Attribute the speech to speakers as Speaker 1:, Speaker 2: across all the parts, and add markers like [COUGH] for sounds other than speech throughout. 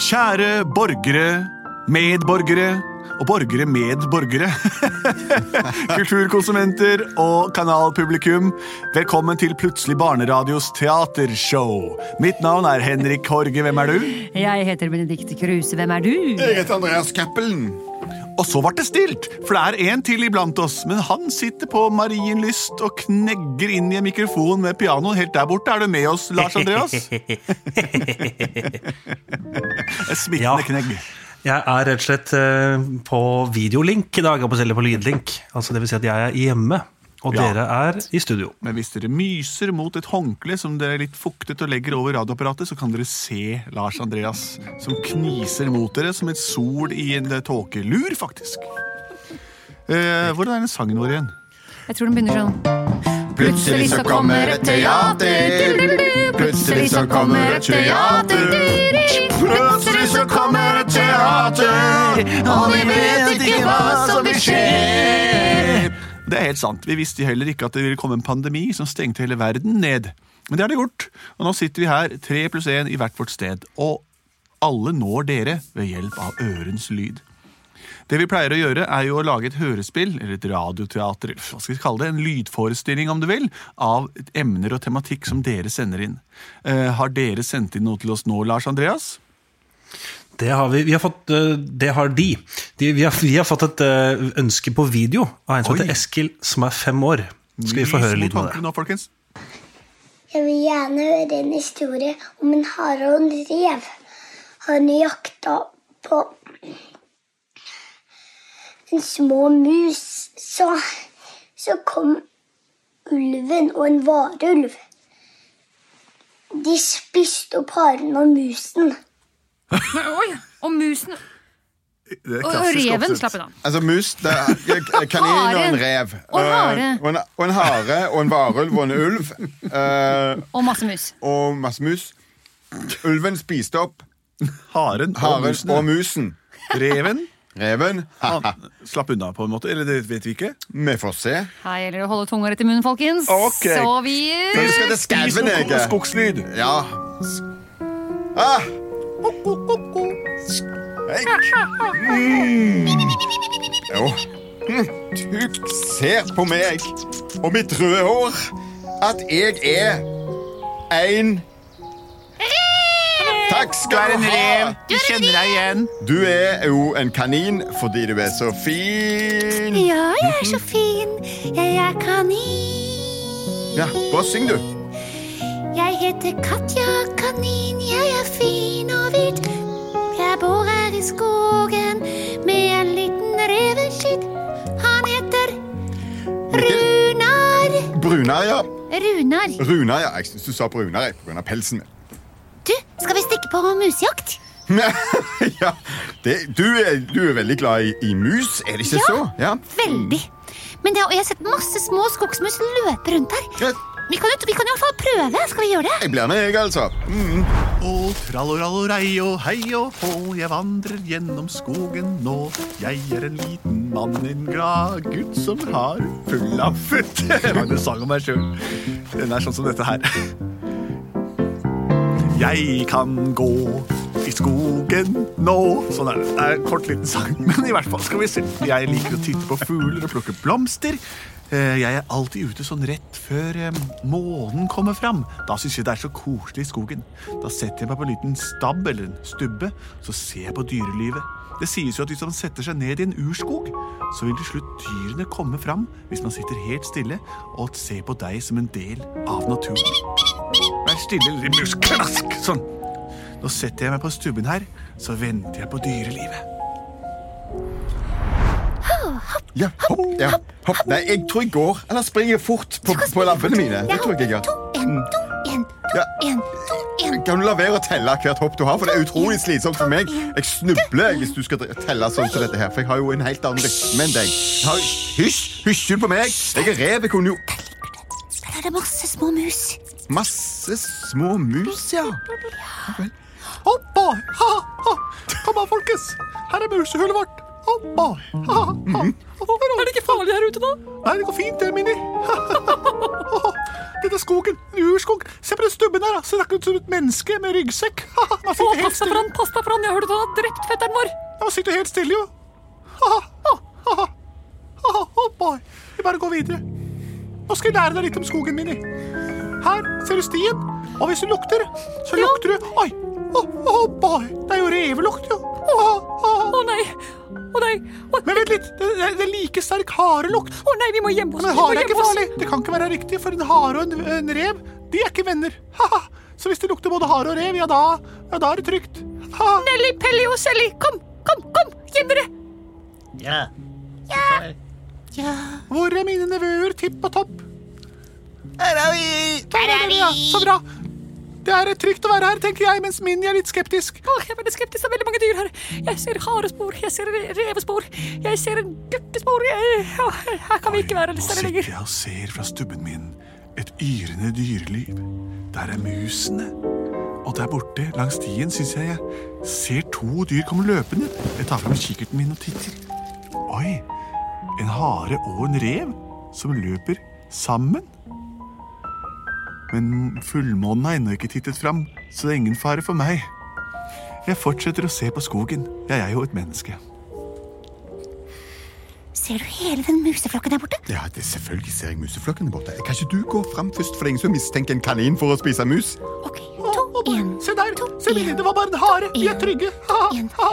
Speaker 1: Kjære borgere, medborgere og borgere med borgere. [LAUGHS] Kulturkonsumenter og kanalpublikum. Velkommen til Plutselig barneradios teatershow. Mitt navn er Henrik Horge, hvem er du?
Speaker 2: Jeg heter Benedikte Kruse, hvem er du?
Speaker 3: Jeg heter Andreas Cappelen.
Speaker 1: Og så ble det stilt, for det er en til iblant oss, men han sitter på Marienlyst og knegger inn i en mikrofon med pianoen helt der borte. Er du med oss, Lars Andreas? En
Speaker 4: Ja.
Speaker 1: Smittende knegg.
Speaker 4: Jeg er rett og slett eh, på videolink i dag, eller på lydlink. Altså, det vil si at jeg er hjemme, og
Speaker 1: Ja.
Speaker 4: dere er i studio.
Speaker 1: Men hvis dere myser mot et håndkle som dere er litt fuktet og legger over radioapparatet, så kan dere se Lars Andreas som kniser mot dere som et sol i en tåkelur, faktisk. Eh, hvordan er den sangen vår igjen?
Speaker 2: Jeg tror den begynner sånn.
Speaker 3: Plutselig så kommer et teater. Plutselig så kommer et teater. Plutselig så kommer et teater. Og vi vet ikke hva som vil skje.
Speaker 1: Det er helt sant. Vi visste heller ikke at det ville komme en pandemi som stengte hele verden ned. Men det har det gjort. Og nå sitter vi her, tre pluss én i hvert vårt sted. Og alle når dere ved hjelp av ørens lyd. Det vi pleier å gjøre, er jo å lage et hørespill, eller et radioteater, hva skal vi kalle det, en lydforestilling, om du vil, av emner og tematikk som dere sender inn. Eh, har dere sendt inn noe til oss nå, Lars Andreas?
Speaker 4: Det har vi. vi har fått, eh, det har de. de vi, har, vi har fått et eh, ønske på video av en som
Speaker 1: Oi.
Speaker 4: heter Eskil, som er fem år. Skal vi få
Speaker 1: Lys
Speaker 4: høre
Speaker 1: mot
Speaker 4: lyden av
Speaker 1: håndkleet
Speaker 4: det?
Speaker 1: Nå, folkens.
Speaker 5: Jeg vil gjerne høre en historie om en hare og en rev. Han jakta på en små mus. Så, så kom ulven og en varulv. De spiste opp haren og musen.
Speaker 2: Oi, og musen
Speaker 1: Det er
Speaker 2: og
Speaker 1: klassisk
Speaker 2: reven
Speaker 1: oppsett.
Speaker 2: slapp hun av.
Speaker 3: Altså mus, det er [LAUGHS] k- kanin og en rev.
Speaker 2: Og hare.
Speaker 3: Eh, Og en, og en hare og en varulv og en ulv. eh,
Speaker 2: Og masse mus.
Speaker 3: Og masse mus. Ulven spiste opp
Speaker 1: Haren og
Speaker 3: haren
Speaker 1: musen.
Speaker 3: og musen.
Speaker 1: Reven
Speaker 3: Reven haha,
Speaker 1: han slapp unna, på en måte. Eller det vet vi ikke.
Speaker 3: Vi får se.
Speaker 2: Her gjelder det å holde tunga rett i munnen, folkens.
Speaker 3: Ok.
Speaker 2: Så vi
Speaker 3: Husk at det er skauen, jeg.
Speaker 1: Skogslyd.
Speaker 3: Ja. Ah. Eik. Mm. Jo. Mm. Du ser på meg og mitt røde hår at jeg er en Takk skal du ha!
Speaker 1: Vi kjenner deg igjen.
Speaker 3: Du er jo en kanin fordi du er så fin.
Speaker 6: Ja, jeg er så fin. Jeg er kanin.
Speaker 3: Ja, Bare syng, du.
Speaker 6: Jeg heter Katja Kanin. Jeg er fin og hvit. Jeg bor her i skogen med en liten reveskitt. Han heter Runar.
Speaker 3: Brunar, ja.
Speaker 6: Runar,
Speaker 3: Runar, ja. Jeg syns du sa brunar jeg, på grunn av pelsen min.
Speaker 6: du, skal vi stikke på musejakt?
Speaker 3: [LAUGHS] ja, det, du, er, du er veldig glad i, i mus, er det ikke så? Ja.
Speaker 6: Veldig. Men det, og jeg har sett masse små skogsmus løpe rundt her.
Speaker 3: Greit.
Speaker 6: Vi kan, jo- vi kan i hvert fall prøve. Skal vi gjøre det?
Speaker 3: Jeg blir med, jeg, altså. Mm.
Speaker 1: Og trallorallorei og hei og hå, jeg vandrer gjennom skogen nå. Jeg er en liten mann, en glad gutt som har full av futt. [LAUGHS] Jeg lagde en sang om meg sjøl. Den er sånn som dette her. Jeg kan gå i skogen nå. Sånn er det. Det er en kort, liten sang, [LAUGHS] men i hvert fall skal vi se. Jeg liker å titte på fugler og plukke blomster. Eh, Jeg er alltid ute sånn rett før eh, månen kommer fram. Da syns jeg det er så koselig i skogen. Da setter jeg meg på en liten stabb eller en stubbe, så ser jeg på dyrelivet. Det sies jo at hvis man setter seg ned i en urskog, så vil til slutt dyrene komme fram hvis man sitter helt stille og ser på deg som en del av naturen. Vær stille, lille mus. Klask! Sånn. Nå setter jeg meg på stubben her, så venter jeg på dyrelivet.
Speaker 3: Ja, hopp, ja, hopp. Nei, jeg tror jeg går. Eller springer fort på, på labbene mine. Det tror jeg jeg gjør. Mm.
Speaker 6: To, en, to, en,
Speaker 3: Ja.
Speaker 6: En, to, en.
Speaker 3: Kan du la være å telle hvert hopp du har? For det er utrolig slitsomt for meg. Jeg snubler hvis du skal telle sånn som dette her. For jeg har jo en helt annen rytme enn deg. Jeg har- Hysj! Hysj på meg! Jeg er rev. Jeg kunne jo
Speaker 6: Der er det masse små mus.
Speaker 3: Masse små mus, ja.
Speaker 1: Hoppa! Ha, ha. Kom an, folkens. Her er musehullet vårt. Hoppa! Ha, ha. Er det ikke farlig her ute, da? Nei, det går fint, det, Minni. Dette er skogen. En urskog. Se på den stubben der. da. Ser akkurat ut som et menneske med ryggsekk. [LAUGHS] Man
Speaker 2: Å,
Speaker 1: sitter helt
Speaker 2: pass deg for
Speaker 1: stille,
Speaker 2: han, pass deg for han! Jeg hørte han har drept fetteren vår!
Speaker 1: Man sitter helt stille jo. Ha, ha, ha, ha. Ha, ha. Hoppa! Vi bare går videre. Nå skal jeg lære deg litt om skogen, Minni. Her ser du stien, og hvis du lukter, så lukter du Oi! Å, å, boy. Det er jo revelukt, jo. Å, å, å.
Speaker 2: Å nei! Å nei! Å
Speaker 1: Men vent litt, det, det, det er like sterk harelukt.
Speaker 2: å nei, vi må gjemme oss!
Speaker 1: Men
Speaker 2: vi må
Speaker 1: hare er ikke
Speaker 2: gjemme oss.
Speaker 1: farlig. Det kan ikke være riktig, for en hare og en, en rev de er ikke venner. Haha. Så hvis det lukter både hare og rev, ja da, ja, da er det trygt. Ha.
Speaker 2: Nelly, Pelli og Selli, kom! Kom, kom! Gjem dere!
Speaker 1: Hvor er mine nevøer Tipp og Topp? Her er vi! Der er vi, ja. Så bra. Det er trygt å være her, tenker jeg, mens Minni er litt skeptisk.
Speaker 2: Åh, jeg er veldig skeptisk. Det er veldig mange dyr her. Jeg ser harespor, jeg ser re- revespor, jeg ser en guttespor jeg, ja, Her kan vi ikke være særlig lenger.
Speaker 1: jeg og ser fra stubben min et yrende dyreliv. Der er musene. Og der borte, langs stien, syns jeg jeg ser to dyr komme løpende. Jeg tar fram kikkerten min og titter. Oi, en hare og en rev som løper sammen. Men fullmånen har ennå ikke tittet fram, så det er ingen fare for meg. Jeg fortsetter å se på skogen. Jeg er jo et menneske.
Speaker 6: Ser du hele den museflokken der borte?
Speaker 3: Ja, det Selvfølgelig ser jeg museflokken borte. Kan ikke du gå fram først, for det er ingen som mistenker en kanin for å spise mus?
Speaker 6: Ok, to, en,
Speaker 1: Se der!
Speaker 6: to,
Speaker 1: Se, Minni,
Speaker 6: en,
Speaker 1: det var bare en hare. Vi er
Speaker 6: en,
Speaker 1: trygge. Ha,
Speaker 6: en.
Speaker 1: ha.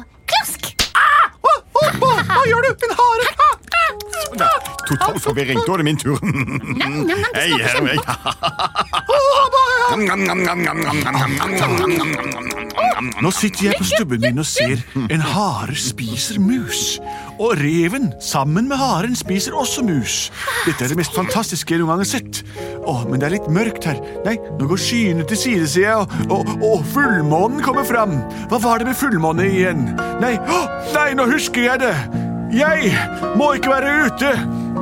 Speaker 6: Og klask!
Speaker 1: Hva, hva, hva, hva gjør du? En hare! Ha, ha.
Speaker 3: Nei, Total forvirring. Da er det min tur.
Speaker 6: Nam, nam, nam,
Speaker 3: Hei,
Speaker 6: det smaker
Speaker 3: her er jeg.
Speaker 1: Nå sitter jeg på stubben min og ser en hare spiser mus. Og reven, sammen med haren, spiser også mus. Dette er det mest fantastiske jeg noen gang har sett. Åh, men det er litt mørkt her. Nei, nå går skyene til side, sier jeg, og, og, og fullmånen kommer fram. Hva var det med fullmåne igjen? Nei, åh, nei, nå husker jeg det. Jeg må ikke være ute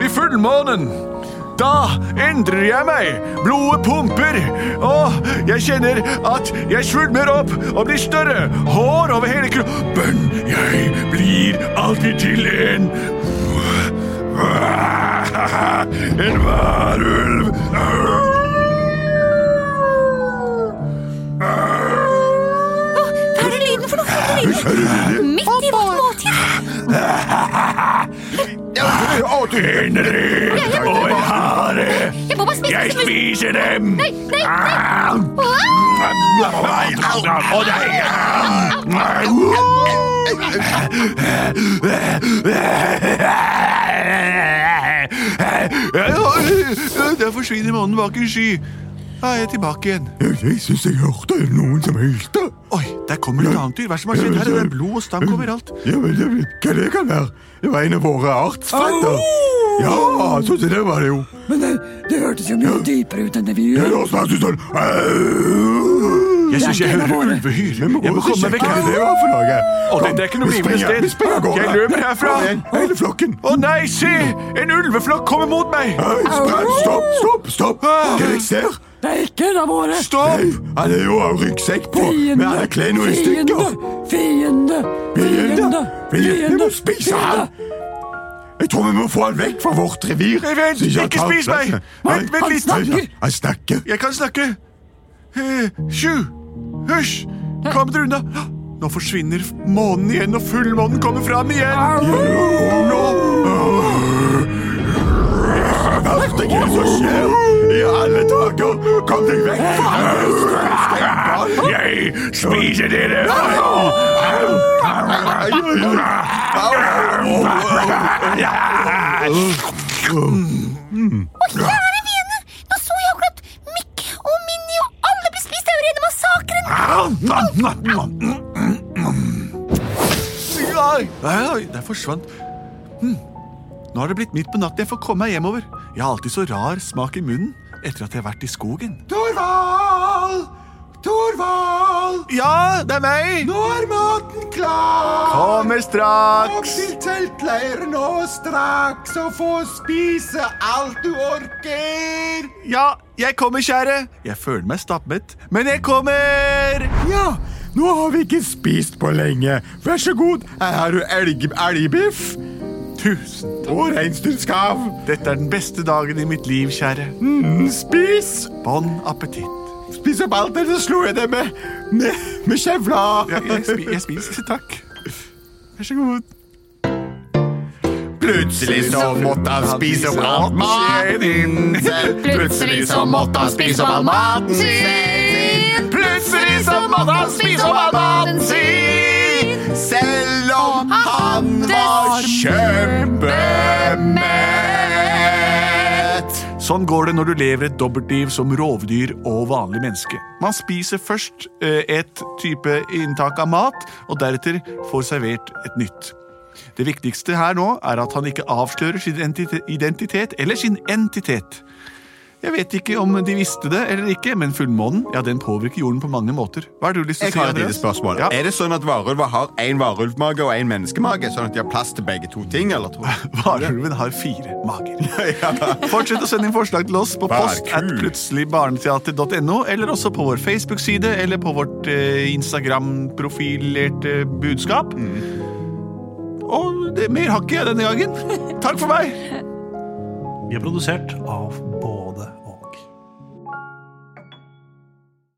Speaker 1: i fullmånen. Da endrer jeg meg. Blodet pumper. Og jeg kjenner at jeg svulmer opp og blir større. Hår over hele kroppen. Jeg blir alltid til en En varulv.
Speaker 6: Åh, Hva er det lyden for noe? Hva er det lyden? Midt i vårt måltid.
Speaker 1: En rev og en hare.
Speaker 6: Jeg må bare spise
Speaker 1: Jeg
Speaker 6: disse mus-
Speaker 1: spiser dem.
Speaker 6: Nei, nei, nei. Åh,
Speaker 1: Og deg. Der forsvinner månen bak en sky. Da er jeg tilbake igjen.
Speaker 3: Jeg syns jeg hørte noen som hylte.
Speaker 1: Oi, der kommer et annet dyr. Hva er det som har skjedd her? Det er blod og stank overalt.
Speaker 3: Ja, men jeg vet Hva det kan være? Det var en av våre artsfretter. Ja, sånn som det var det jo.
Speaker 7: Men det, det hørtes jo mye dypere ut enn det vi
Speaker 3: Jeg
Speaker 7: gjør.
Speaker 3: hører snart ut sånn «Au!»
Speaker 1: Jeg syns jeg hører ulvehyl.
Speaker 3: Vi må gå
Speaker 1: Jeg må
Speaker 3: ut og
Speaker 1: komme meg
Speaker 3: sjekke
Speaker 1: vekk
Speaker 3: hva det
Speaker 1: herfra.
Speaker 3: var for noe.
Speaker 1: Å,
Speaker 3: Kom,
Speaker 1: det er ikke noe
Speaker 3: vi
Speaker 1: blivende
Speaker 3: springer,
Speaker 1: sted.
Speaker 3: vi springer av gårde.
Speaker 1: Jeg løper herfra.
Speaker 3: Kom igjen, Hele flokken.
Speaker 1: Å nei, se! En ulveflokk kommer mot meg!
Speaker 3: Hei, sprem, Stopp, stopp, stopp! Hva er det jeg ser?
Speaker 7: Det er ikke en av våre!
Speaker 3: Nei,
Speaker 1: Ah! Stopp!
Speaker 3: han er jo av ryggsekk på, men han er kledd noe i stykker.
Speaker 7: Fiende!
Speaker 3: Fiende! Fiende! Vi må spise han! Jeg tror vi må få han vekk fra vårt revir.
Speaker 1: Nei, vent,
Speaker 3: så han
Speaker 1: ikke
Speaker 3: tar
Speaker 1: spis meg!
Speaker 3: plassen.
Speaker 1: Vent, vent
Speaker 3: han
Speaker 1: litt.
Speaker 3: snakker. Han snakker.
Speaker 1: Jeg kan snakke. Eh, Sju. Hysj. Kom dere unna. Ah, Nå forsvinner månen igjen, og fullmånen kommer fram igjen.
Speaker 3: Nå Hva er det som skjer? I alle dager, kom deg vekk fra meg! Jeg spiser dere!
Speaker 6: der er det fiender! Nå så jeg akkurat Mikk og Minnie og alle ble spist. Det er jo rene massakren.
Speaker 1: Oi, oi, oi, der forsvant Hm. Nå har det blitt midt på natten. Jeg får komme meg hjemover. Jeg har alltid så rar smak i munnen etter at jeg har vært i skogen.
Speaker 3: Tora!
Speaker 1: Ja, det er meg!
Speaker 3: Nå er maten klar!
Speaker 1: Kommer
Speaker 3: Opp
Speaker 1: straks!
Speaker 3: til teltleiren og straks og få spise alt du orker!
Speaker 1: Ja, jeg kommer, kjære. Jeg føler meg stappmett, men jeg kommer!
Speaker 3: Ja, nå har vi ikke spist på lenge. Vær så god, her har du elg, elgbiff
Speaker 1: Tusen takk.
Speaker 3: og reinsdyrskav.
Speaker 1: Dette er den beste dagen i mitt liv, kjære.
Speaker 3: Mm, spis!
Speaker 1: Bon appetitt.
Speaker 3: Spis opp alt, eller så slo jeg deg med, med, med kjevla.
Speaker 1: Ja, jeg, spi, jeg spiser, takk.
Speaker 3: Vær så god. Plutselig så måtte han spise opp all maten sin. Plutselig så måtte han spise opp all maten sin. Plutselig så måtte han spise opp all maten sin. Selv om han var kjempemett.
Speaker 1: Sånn går det når du lever et dobbeltliv som rovdyr og vanlig menneske. Man spiser først eh, et type inntak av mat, og deretter får servert et nytt. Det viktigste her nå er at han ikke avslører sin entite- identitet eller sin entitet. Jeg vet ikke om de visste det eller ikke, men fullmånen ja, den påvirker jorden på mange måter. Hva har du lyst til å
Speaker 3: Jeg
Speaker 1: si,
Speaker 3: har et lite
Speaker 1: Andreas?
Speaker 3: spørsmål.
Speaker 1: Ja.
Speaker 3: Er det sånn at varulver har én varulvmage og én menneskemage? Sånn at de har plass til begge to ting? eller to? [LAUGHS]
Speaker 1: Varulven har fire mager.
Speaker 3: Ja.
Speaker 1: Fortsett å sende inn forslag til oss på
Speaker 3: Vær
Speaker 1: post at
Speaker 3: kul.
Speaker 1: plutseligbarneteater.no, eller også på vår Facebook-side eller på vårt eh, Instagram-profilerte budskap. Og det, mer har ikke jeg denne gangen. Takk for meg!
Speaker 4: Vi er produsert av både og.